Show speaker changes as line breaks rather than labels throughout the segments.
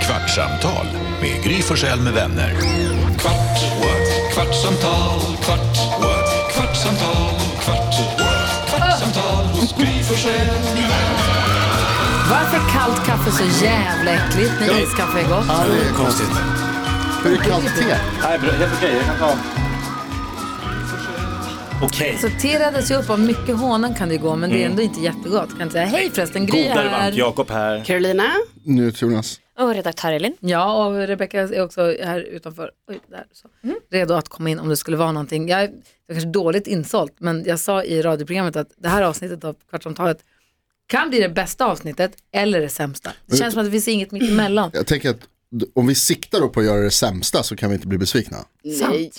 Kvartsamtal med Gry Forssell med vänner. Kvart, what? kvartsamtal, kvart, what? kvartsamtal, kvart, what? kvartsamtal, Gry Forssell med vänner.
Varför är kallt kaffe så jävla äckligt när iskaffe är gott?
Ja, det är konstigt. Hur är kallt te?
Nej, bra. helt okej. Jag kan ta... Okej. Mm.
Så te räddas ju upp av mycket honan kan det ju gå, men det är ändå inte jättegott. Kan inte säga hej förresten, Gry
Godare varmt.
här.
Jakob här.
Carolina.
Nu Jonas.
Och redaktör Elin.
Ja, och Rebecka är också här utanför. Oj, där, så. Redo att komma in om det skulle vara någonting. Jag är det var kanske dåligt insålt, men jag sa i radioprogrammet att det här avsnittet av Kvartsamtalet kan bli det bästa avsnittet eller det sämsta. Det känns som att det finns inget mittemellan.
Jag tänker att d- om vi siktar då på att göra det sämsta så kan vi inte bli besvikna.
Nej.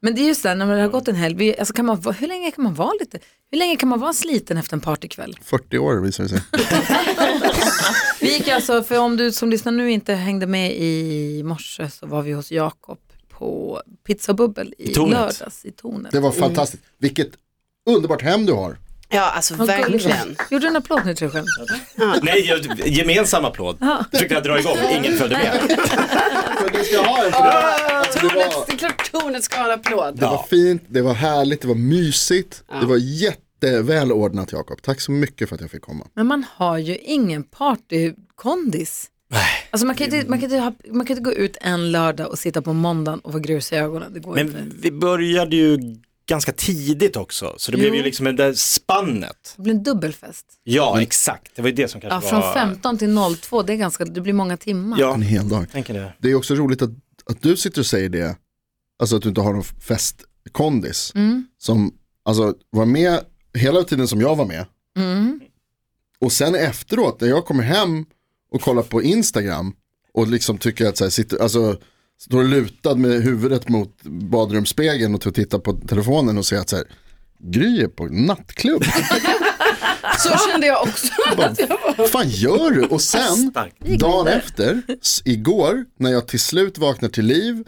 Men det är just det, när det har gått en helg, vi- alltså kan man, va- hur länge kan man vara lite, hur länge kan man vara sliten efter en partykväll?
40 år visar det sig.
Vi gick alltså, för om du som lyssnar nu inte hängde med i morse så var vi hos Jakob på Pizza och Bubbel i,
I tornet.
lördags i tornet.
Det var fantastiskt. Vilket underbart hem du har.
Ja, alltså
Vad gulligt.
verkligen.
Gjorde du en applåd nu Tryschen?
Nej, jag- gemensam applåd. Försökte jag dra igång, ingen följde med.
Men du ska ha en för det. Det var,
Det är klart tornet ska ha en applåd.
det var fint, det var härligt, det var mysigt. Det var jätteväl ordnat Jakob. Tack så mycket för att jag fick komma.
Men man har ju ingen partykondis. Alltså man kan, inte, man, kan inte ha, man kan inte gå ut en lördag och sitta på måndagen och få grus i ögonen. Det går inte.
Men vi började ju ganska tidigt också, så det blev ju liksom det där spannet.
Det blir en dubbelfest.
Ja, exakt. Det var ju det som
Ja,
kanske
från
var...
15 till 02, det, är ganska, det blir många timmar.
Ja,
En hel dag.
tänker det.
Det är också roligt att, att du sitter och säger det, alltså att du inte har någon festkondis. Som alltså, var med hela tiden som jag var med. Och sen efteråt när jag kommer hem och kollar på Instagram och liksom tycker att så här, sitter, alltså, står lutad med huvudet mot badrumsspegeln och tittar på telefonen och ser att så här, Gry är på nattklubb.
Så kände jag också.
Vad fan gör du? Och sen,
Starkt.
dagen efter, s- igår, när jag till slut vaknar till liv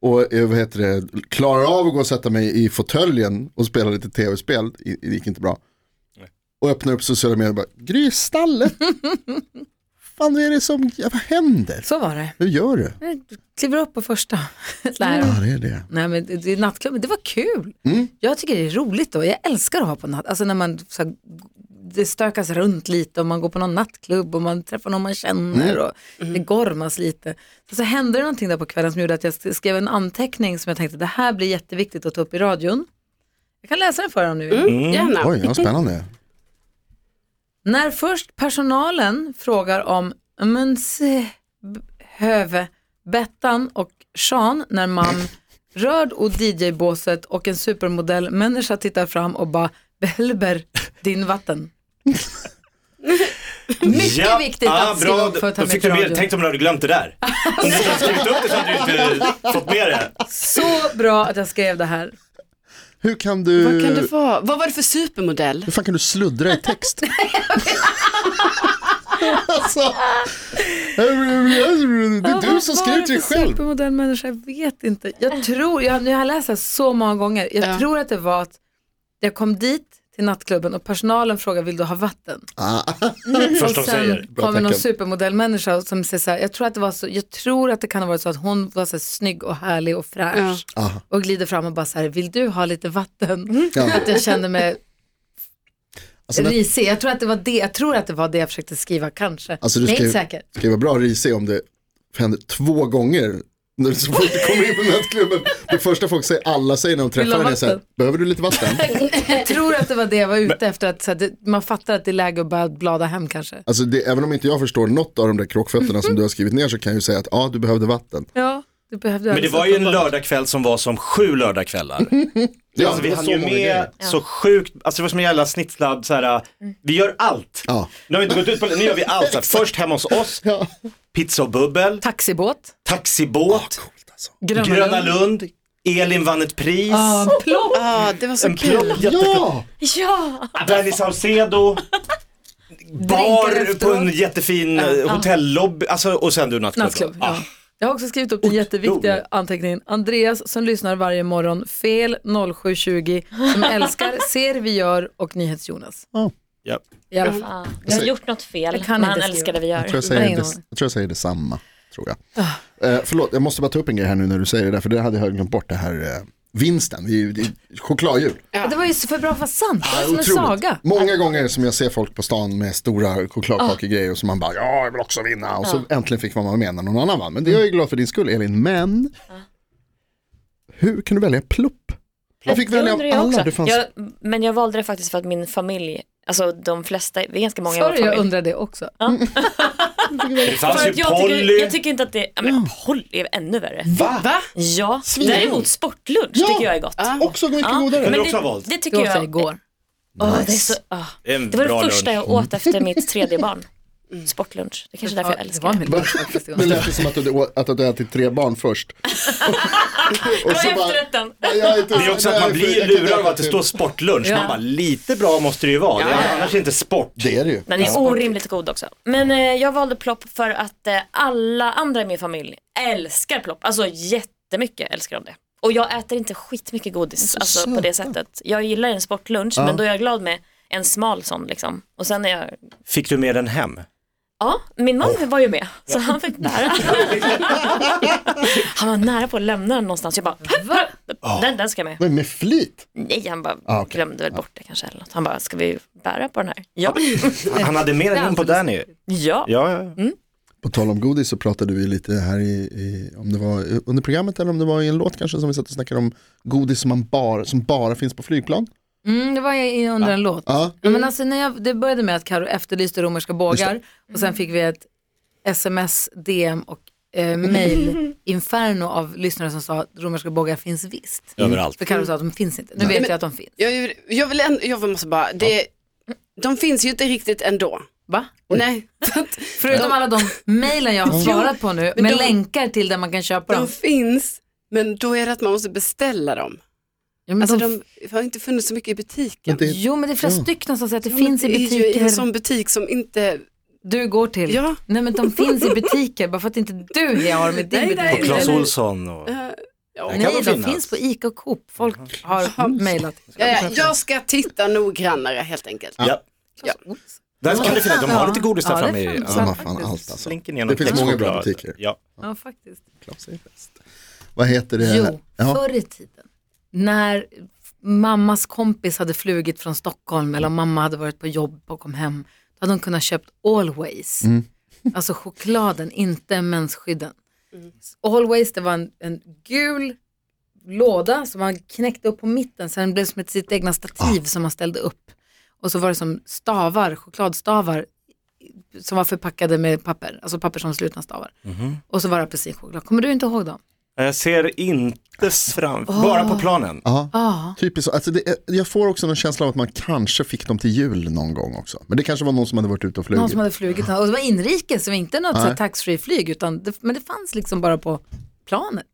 och eh, vad heter det, klarar av att gå och sätta mig i fåtöljen och spela lite tv-spel, i- det gick inte bra. Och öppnar upp sociala medier och bara, Gry i stallet. fan vad är det som, ja, vad händer?
Så var det.
Hur gör du?
Du kliver upp på första. Nej,
Ja det är det.
Nej men det- det är nattklubben, det var kul. Jag tycker det är roligt då, jag älskar att ha på natt, alltså när man så här, det stökas runt lite och man går på någon nattklubb och man träffar någon man känner och det gormas lite. Så, så hände det någonting där på kvällen som gjorde att jag sk- skrev en anteckning som jag tänkte det här blir jätteviktigt att ta upp i radion. Jag kan läsa den för dig om du vill.
Gärna.
Oj, vad spännande.
När först personalen frågar om Mönse, Höve, Bettan och Sean när man rörd och DJ-båset och en supermodell människa tittar fram och bara Belber din vatten. Mycket viktigt att skriva upp för att ta
Ah,
med
då fick
till
du med,
radion.
Tänk om du hade glömt det där. Om du inte hade skrivit upp det så hade du inte fått med det.
Så bra att jag skrev det här.
Hur kan du,
Vad kan det vara? Vad var det för supermodell?
hur fan kan du sluddra i text? alltså, det är du som skriver till dig själv.
Supermodell människa, jag vet inte. Jag tror, jag, jag har läst det här så många gånger, jag
Ja.
tror att det var att jag kom dit till nattklubben och personalen frågade vill du ha vatten?
Ah,
Först de
och sen
säger.
Bra
kommer någon
tecken.
supermodellmänniska som säger så här, jag tror att det var så, jag tror att det kan ha varit så att hon var så här snygg och härlig och fräsch
Aha.
och glider fram och bara så här, vill du ha lite vatten?
Ja.
Att jag kände mig
Alltså, när-
risig, jag tror att det var det, jag tror att det var det jag försökte skriva kanske.
Alltså, du
det är inte
skrev-
säkert.
Det kan ju vara bra risig om det händer två gånger. När du så fort du kommer in på nattklubben, det första folk säger, alla säger när de
Vill du
träffar
ha
en är så här,
vatten?
behöver du lite vatten?
Jag tror att det var det jag var ute efter, att så här, det, man fattar att det är läge att börja blada hem kanske.
Alltså det, även om inte jag förstår något av de där kråkfötterna som du har skrivit ner så kan jag ju säga att ja, du behövde vatten.
Ja, det behövde jag
Men det
alltså
var ju en
uppenbart.
lördagkväll som var som sju lördagkvällar.
Ja,
alltså, vi
det var
hann
så
ju
många
med
grejer.
så sjukt, alltså det var som en jävla snitsladd så här,
Mm.
vi gör allt.
Ja.
Nu har vi inte gått ut på, nu gör vi allt. Så här, först hemma hos oss,
Ja.
pizza och bubbel,
Taxibåt,
taxibåt,
Coolt alltså.
Gröna
Gröna Lund,
Lund, Elin vann ett pris,
ah, plopp,
Ja, det var så
en
kul.
plopp, jätte-
Ja,
Ja!
Danny Saucedo, bar på en
efteråt.
jättefin uh, hotellobby, alltså, och sen du nattklubb. Ah,
nattklubb.
Ja.
Ja. Jag har också skrivit upp den jätteviktiga
Otroligt.
anteckningen. Andreas som lyssnar varje morgon, fel 0720, som älskar, ser, vi gör och NyhetsJonas.
Ja.
I alla fall.
Jag har gjort något fel,
kan
men han
inte skriva.
älskar det vi gör.
jag tror jag
Nej, Ah.
säger,
ingen
det, jag tror jag säger detsamma. tror jag. Eh, förlåt, jag måste bara ta upp en grej här nu när du säger det där, för det hade jag glömt bort det här eh, vinsten. Det är ju det är chokladhjul.
Ja.
Det var ju så för bra för att vara sant, det var som en
Otroligt.
saga.
Många gånger som jag ser folk på stan med stora chokladkakegrejer och som man bara, ja jag vill också vinna. Och så äntligen fick man vara med när någon annan vann. Men det är jag
Mm.
ju glad för din skull Elin, men hur kan du välja plupp? Jag fick
Det
välja av
undrar jag
alla.
också.
Det fanns...
jag, men jag valde det faktiskt för att min familj, alltså de flesta, vi är ganska många i vår
Sorry, jag
familj.
undrar det också.
Det fanns
För
ju
att jag, tycker,
Alltså, Polly.
jag tycker inte att det, ja, men Polly är ännu värre.
Mm. Va?
Va?
Ja,
Svin.
däremot sportlunch
Ja.
tycker jag är gott.
Ja.
Också mycket godare.
Men du
Men
också har
det,
valt.
det tycker
Du åt det
jag,
igår.
Åh, det, är så, ah.
En
det var
bra
det första
lunch.
jag åt efter mitt tredje barn.
Mm.
Sportlunch, det kanske är därför jag
det
älskar
var
det.
min lunch faktiskt.
Det lät ju som att du, att du ätit tre barn först. och
Det var efterrätten.
jag inte,
Det är också att man blir lurad av att det står sportlunch.
Ja.
Man bara, lite bra måste det ju vara. Det är annars inte sport.
Det är det ju.
Den är orimligt god också. Men eh, jag valde plopp för att eh, alla andra i min familj älskar plopp. Alltså jättemycket älskar de det. Och jag äter inte skitmycket godis alltså, på det sättet. Jag gillar en sportlunch men då är jag glad med en smal sån liksom. Och sen är jag,
Fick du med den hem?
ja min man
Oh.
var ju med så han fick bära. han var nära på att lämna den någonstans. Jag bara, den, den ska med.
Men med flit.
Nej han bara
Ah, okej.
glömde väl bort det kanske eller något. Han bara, ska vi bära på den här? Ja,
Han- Han hade med den hem på Danny.
ja.
Ja, ja.
Mm.
På tal om godis så pratade vi lite här i, i, om det var under programmet eller om det var i en låt kanske som vi satt och snackade om godis som, man bara, som bara finns på flygplan.
Mm, det var i- under en låt.
Ja.
Ja,
Mm.
men alltså, när jag, det började med att Karo efterlyste romerska bågar och sen fick vi ett sms, DM och eh, mail inferno av lyssnare som sa att romerska bågar finns visst.
Överallt.
För Karo sa att de finns inte. Nu vet jag att de finns.
Jag, är ju- jag, vill ändå, jag måste bara, det, de finns ju inte riktigt ändå.
Va?
Nej, så att
Förutom alla de mailen jag har svarat på nu
men
med
de-
länkar till där man kan köpa
de
dem.
finns, men då är det att man måste beställa dem.
Ja, men
Alltså
de
de har inte funnits så mycket i butiken.
Det,
Jo men det är flera stycken som säger att det finns i
Det är ju i
butiker
en sån butik som inte,
du går till.
Ja.
Nej men de finns i butiker bara för att inte du har dem i din
Nej,
butik.
nej,
Och Clas
Eller-
Ohlson och...
ja,
Där kan
Mm. Nej, de
de finnas.
finns på ICA och Coop. Folk har mejlat.
Ja, ja, jag ska titta noggrannare helt enkelt.
Ja. Där kan det finnas. De har lite godis där
Ja, det
framme. i-
finns.
Ja.
ja, vad fan allt alltså.
Slinker ner
Det
någon
finns många bra
kexchoklad.
butiker.
Ja.
Ja, faktiskt.
Klaus är bäst. Vad heter det?
Jo,
ja.
förr i tiden när f- mammas kompis hade flugit från Stockholm eller om mamma hade varit på jobb och kom hem, då hade hon kunnat köpt Always.
Mm.
Alltså chokladen, inte mensskydden. Always, det var en, en gul låda som man knäckte upp på mitten så den blev som ett sitt egna
Ah.
stativ som man ställde upp. Och så var det som stavar, chokladstavar i- som var förpackade med papper, alltså papper som slutna stavar.
Mhm.
Och så var det apelsinchoklad. Kommer du inte ihåg dem?
Jag ser inte fram... Bara på planen.
Ja.
Ja.
Typiskt, så. alltså det, är- jag får också någon känsla av att man kanske fick dem till jul någon gång också. Men det kanske var någon som hade varit ute och
Någon
flugit.
som hade flugit, och det var inrikes, det var inte något
Nej.
så här taxfree-flyg, utan det, men det fanns liksom bara på planet.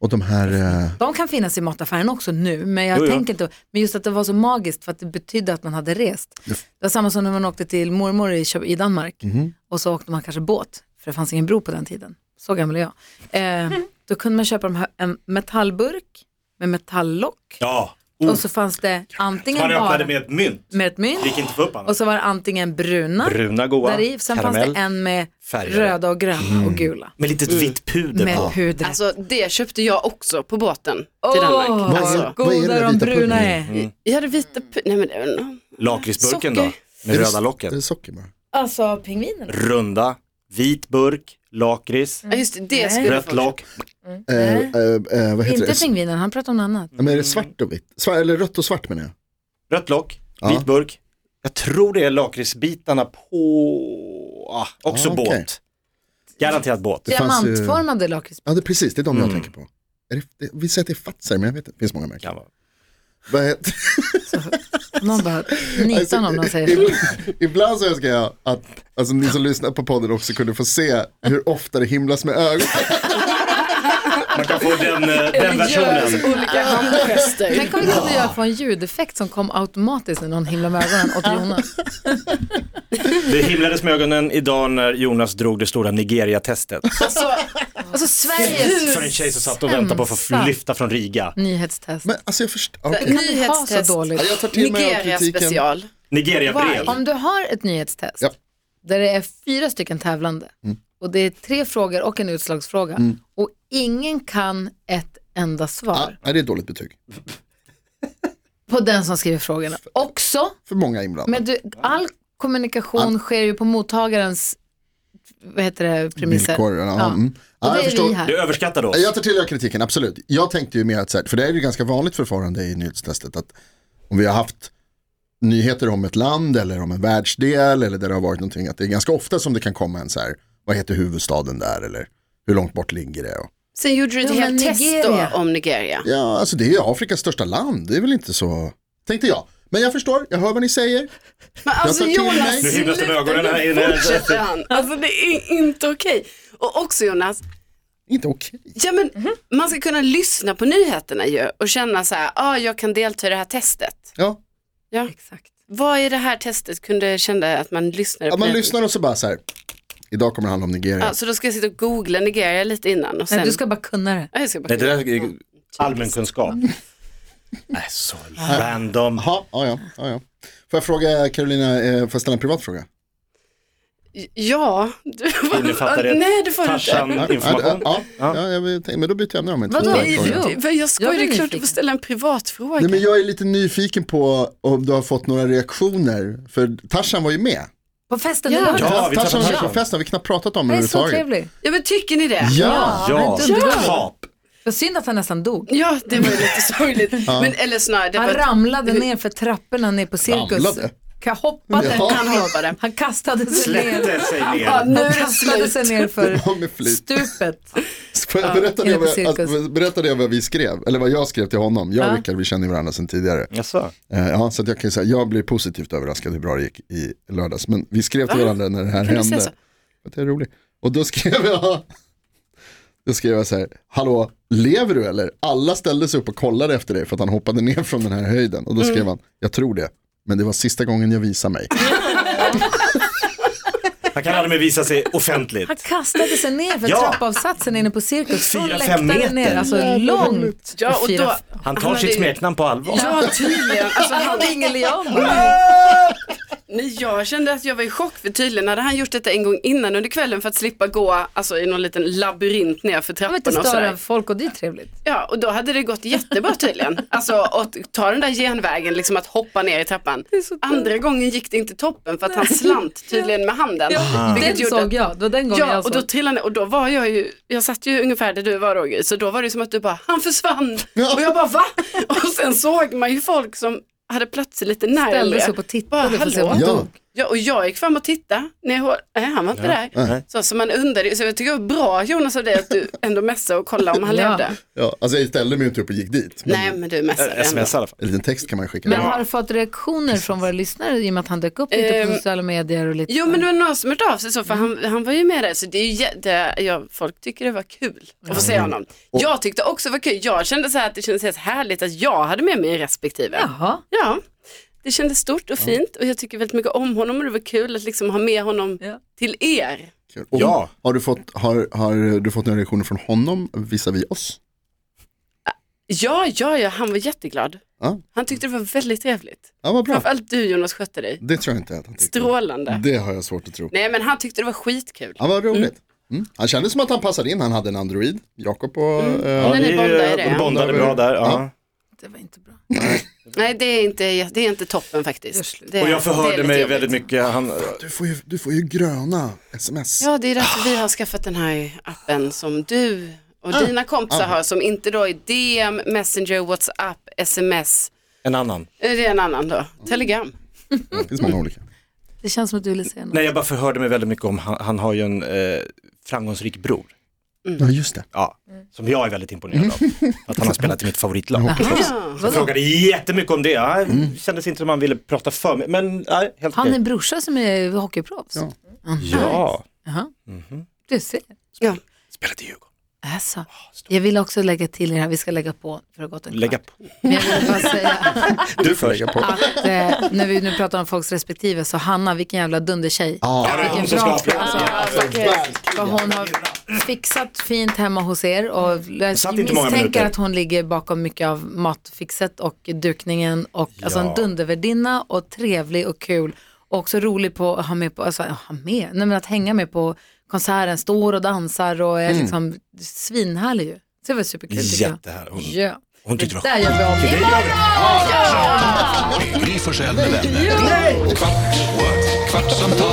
Och de här, eh,
De kan finnas i mataffären också nu, men jag
Jo, ja.
tänker inte, men just att det var så magiskt för att det betydde att man hade rest. Det var samma som när man åkte till mormor i, Kö- i Danmark
Mhm.
och så åkte man kanske båt, för det fanns ingen bro på den tiden. Så gammal är jag. Eh, då kunde man köpa de här, en metallburk med metalllock
Ja.
och så fanns det antingen
Man
bara
öppnade med ett mynt.
med ett mynt
Det gick inte få upp annars.
och så var det antingen bruna
Bruna goa,
där i. Sen fanns
karamell,
det en med
färgade.
röda och gröna
Mm.
och gula.
Med litet vitt puder
Med
på.
puder.
Alltså det köpte jag också på båten till Danmark.
Åh,
Alltså,
vad
vad är det där
goda de
vita
bruna
puddingen?
är.
jag hade vita, pu- nej men det var nog-
Lakritsburken då?
Socker.
Med
Är det-
röda
är
locket.
det socker bara?
Alltså pingvinerna.
Runda, vit burk, lakrits,
Mm.
ja, just det, det skulle jag
rött
få.
lock.
Eh, eh, eh, vad heter
Inte
det?
pingvinen, han pratar om något annat.
Ja, Men är det svart och vitt? Svart, eller rött och svart menar jag.
Rött lock,
Ja.
vit burk. Jag tror det är lakritsbitarna på... Ah, också
Ah, okej.
båt. Garanterat båt.
Det fanns ju-
Diamantformade lakrits.
Ja, det är precis, det är de jag tänker på. Är det, det, vi säger att det är Fazer, men jag vet inte, det finns många märken.
Kan vara.
Vad heter-
Någon bara
Alltså,
nitar honom när han säger så.
Ib- Ibland så önskar jag att alltså, ni som lyssnar på podden också kunde få se hur ofta det himlas med ögonen.
Man kan få den, eh, den versionen.
Olika handgester.
Tänk om vi kunde göra få en ljudeffekt som kom automatiskt när någon himlade med ögonen åt Jonas.
Det himlades med ögonen idag när Jonas drog det stora Nigeria-testet.
Alltså,
Alltså Sveriges
För en tjej som satt och väntade på att få
Sämsta.
lyfta från Riga.
nyhetstest.
Men alltså jag förstår, okej.
ha
nyhetstest,
så dåligt?
Ja, jag tar till mig av
Nigeria
kritiken.
special.
Nigeria-brev.
Om du har ett nyhetstest
Ja. Mm.
där det är fyra stycken tävlande Och det är tre frågor och en utslagsfråga. Och ingen kan ett enda svar
Ah, nej, det är ett dåligt betyg.
på den som skriver frågorna. Också,
För många inblandade.
men du, all kommunikation sker ju på mottagarens vad heter det, premisser.
Villkor, ja. Mm.
Och
Ja,
det
jag
är
förstår.
vi här.
Du överskattar oss.
Nej, Jag tar till er kritiken, absolut. Jag tänkte ju mer att, så här, för det är ju ganska vanligt förfarande i nyhetstestet att om vi har haft nyheter om ett land eller om en världsdel eller där det har varit någonting, att det är ganska ofta som det kan komma en så här, vad heter huvudstaden där eller hur långt bort ligger det? Och,
Sen gjorde du ett
Jo,
helt
men
test
Nigeria.
då om Nigeria.
ja, alltså det är ju Afrikas största land, det är väl inte så, tänkte jag. Men jag förstår, jag hör vad ni säger.
Men alltså
tar till mig.
Jonas,
Nu himlas det med
sluta,
ögonen här
nu
inne.
fortsätter han. Alltså det är inte okej. Och också Jonas,
Inte okej.
ja, men,
Mhm.
man ska kunna lyssna på nyheterna ju och känna så här, ah, jag kan delta i det här testet.
Ja.
Ja.
Exakt.
Vad i det här testet kunde känna att man lyssnade
Ja,
på
man
nyheterna?
lyssnar och så bara så här, idag kommer det handla om Nigeria.
Ja, så då ska jag sitta och googla Nigeria lite innan och sen...
Nej, du ska bara kunna det.
Ja, jag ska bara...
Nej, det där är allmänkunskap. Nej, så random.
Jaha, ja, ja, ja, ja. Får jag fråga Carolina, eh, får jag ställa en privat fråga?
Ja, du...
Innefattar Ah, det
Nej, det får du inte.
Tarzan-information?
Ja, ja, ja, jag tänkte- men då byter jag ämne om en
Vadå?
tvåårig
Nej,
fråga.
Jo.
det- för jag skojar,
Jag blir
det är klart du
nyfiken.
får ställa en privat fråga.
Nej, men jag är lite nyfiken på om du har fått några reaktioner, för Tarzan var ju med.
På festen
Ja.
i lördags.
Ja, vi
Tarzan
träffade
var med på
Tarzan.
festen, vi har knappt pratat om det
Han är så
överhuvudtaget.
trevlig.
Ja, men tycker ni det?
Ja,
Ja,
Men dundrar.
kap.
Vad synd att han nästan dog.
Ja, det var ju lite sorgligt. Men, eller snarare, det
Han
var...
ramlade ner för trapporna ner på cirkus.
Ramlade?
Han hoppade.
Ja.
han hoppade.
Han kastade sig ner.
Släppte sig
Ja,
ner.
nu
Han
är det
kastade
slut.
sig ner för
Ja, med flit.
stupet.
Får jag berätta det
inne på
vad jag-
cirkus.
att- berätta det vad vi skrev, eller vad jag skrev till honom. Jag och Rickard, vi känner ju varandra sedan tidigare.
Jaså?
Eh, Ja, så att jag kan ju säga, jag blev positivt överraskad hur bra det gick i lördags. Men vi skrev till varandra när det här
Kan du säga
hände.
så?
Att jag är rolig. Och då skrev jag, då skrev jag så här, hallå, lever du eller? Alla ställde sig upp och kollade efter dig för att han hoppade ner från den här höjden. Och då skrev
Mm.
han, jag tror det, men det var sista gången jag visade mig.
Han kan aldrig mer visa sig
Han
offentligt.
kastade sig ner för
Ja.
trappavsatsen inne på cirkus. Från
Fyra, fem
läktaren
meter.
ner, alltså långt.
Ja, och då...
Fyra-
Han tar
hade
sitt
ju-
smeknamn på allvar.
Ja, tydligen. Alltså,
Han
han...
hade ingen lian.
Nej, jag kände att jag var i chock för tydligen hade han gjort detta en gång innan under kvällen för att slippa gå alltså, i någon liten labyrint ner för
Han vill inte
trapporna och
störa
sådär.
folk och det är trevligt.
Ja, och då hade det gått jättebra tydligen. Alltså att ta den där genvägen, liksom att hoppa ner i trappan. Andra gången gick det inte toppen för att han slant tydligen med handen.
Den
Vilket gjorde
såg jag, det var den gången
Ja,
jag
och
såg.
då trillade han och då var jag ju, jag satt ju ungefär där du var Roger, så då var det som att du bara, han försvann.
Ja.
Och jag bara, va? Och sen såg man ju folk som hade platser lite närmare.
Ställde sig upp och tittade
Bara,
för att se om
hallå?
han
Ja.
dog.
Ja, och jag gick fram och tittade, när jag, hör- nej han var inte där.
Nej.
Så, så man undrade, ju. så jag tycker det var bra Jonas av dig att du ändå messade och kollade om han
Ja.
levde.
Ja, alltså jag ställde mig inte upp och gick dit. Men
Nej men du messade
Eh,
ändå.
Sms i alla fall.
en liten text kan man skicka.
Men
Ja.
har du fått reaktioner från våra lyssnare i och med att han dök upp lite på
Ehm,
sociala medier och lite
Jo
så här?
men det var någon som hört av sig så för
Mm.
han, han var ju med där så det är ju jä- det, ja, folk tycker det var kul att få
Mm.
se honom. Jag tyckte också det var kul, jag kände så här att det kändes helt härligt att jag hade med mig en respektive.
Jaha,
Ja, det kändes stort och fint och jag tycker väldigt mycket om honom och det var kul att liksom ha med honom
Ja.
till er.
Kul. Och
Ja.
Har, du fått, har, har du fått några reaktioner från honom visavi oss?
Ja, ja, ja, han var jätteglad.
Ja.
Han tyckte det var väldigt trevligt.
Ja, vad bra.
Framförallt du Jonas skötte dig.
Det tror jag inte att han tyckte.
Strålande.
Det har jag svårt att tro.
Nej men han tyckte det var skitkul.
Ja, vad roligt. Mm. Han kände som att han passade in, han hade en Android, Jakob och... eh,
Ja,
Men ni
vi,
bondade i
eh,
det.
bondade bra där. Ja.
det var inte bra.
Nej det är inte, det är inte toppen faktiskt. Det,
Och jag
det är
förhörde
lite
mig
jobbigt.
väldigt mycket. Han,
Du, får ju, du får ju gröna sms.
Ja, det är därför vi har skaffat den här appen som du och
Ah.
dina kompisar har, som inte då är DM, Messenger, WhatsApp, SMS.
en annan.
Eh, Det är en annan då, Telegram.
Det finns många olika.
Det känns som att du ville säga något.
Nej, jag bara förhörde mig väldigt mycket om, han, han har ju en eh, framgångsrik bror.
Ja, just det.
Ja, som jag är väldigt imponerad av. Att han har spelat i mitt favoritlag.
Mm. Ja. Mm.
Jag frågade jättemycket om det. Ja, kändes inte som han ville prata för mig. Men nej, helt
Han är
okej.
en brorsa som är hockeyproffs.
Ja.
Mm.
Ja,
Jaha.
Mhm.
Du ser.
Ja.
spelade i Djurgården. Ah,
Alltså, jag vill också lägga till det här, vi ska lägga på för att gått en kvart.
Lägga på.
Men jag vill bara säga
Du först.
Lägga på.
att eh, när vi nu pratar om folks respektive så Hanna, vilken jävla dundertjej.
Ja,
det är hon som
Vilken
ska
bra
ha applåd.
alltså, vad hon har fixat fint hemma hos er och jag
Mm. satt inte många
misstänker
minuter.
att hon ligger bakom mycket av matfixet och dukningen och alltså en
Ja.
dundervärdinna och trevlig och kul och också rolig på att ha med på, alltså ha med, nej men att hänga med på konserten, står och dansar och är
Mm.
liksom svinhärlig ju. Så det var superkul tycker jag.
Jättehärlig. Hon,
Ja.
hon tyckte det var
Där gör vi av med
Med Gry Forssell med vänner. Kvart, what? kvartsamtal,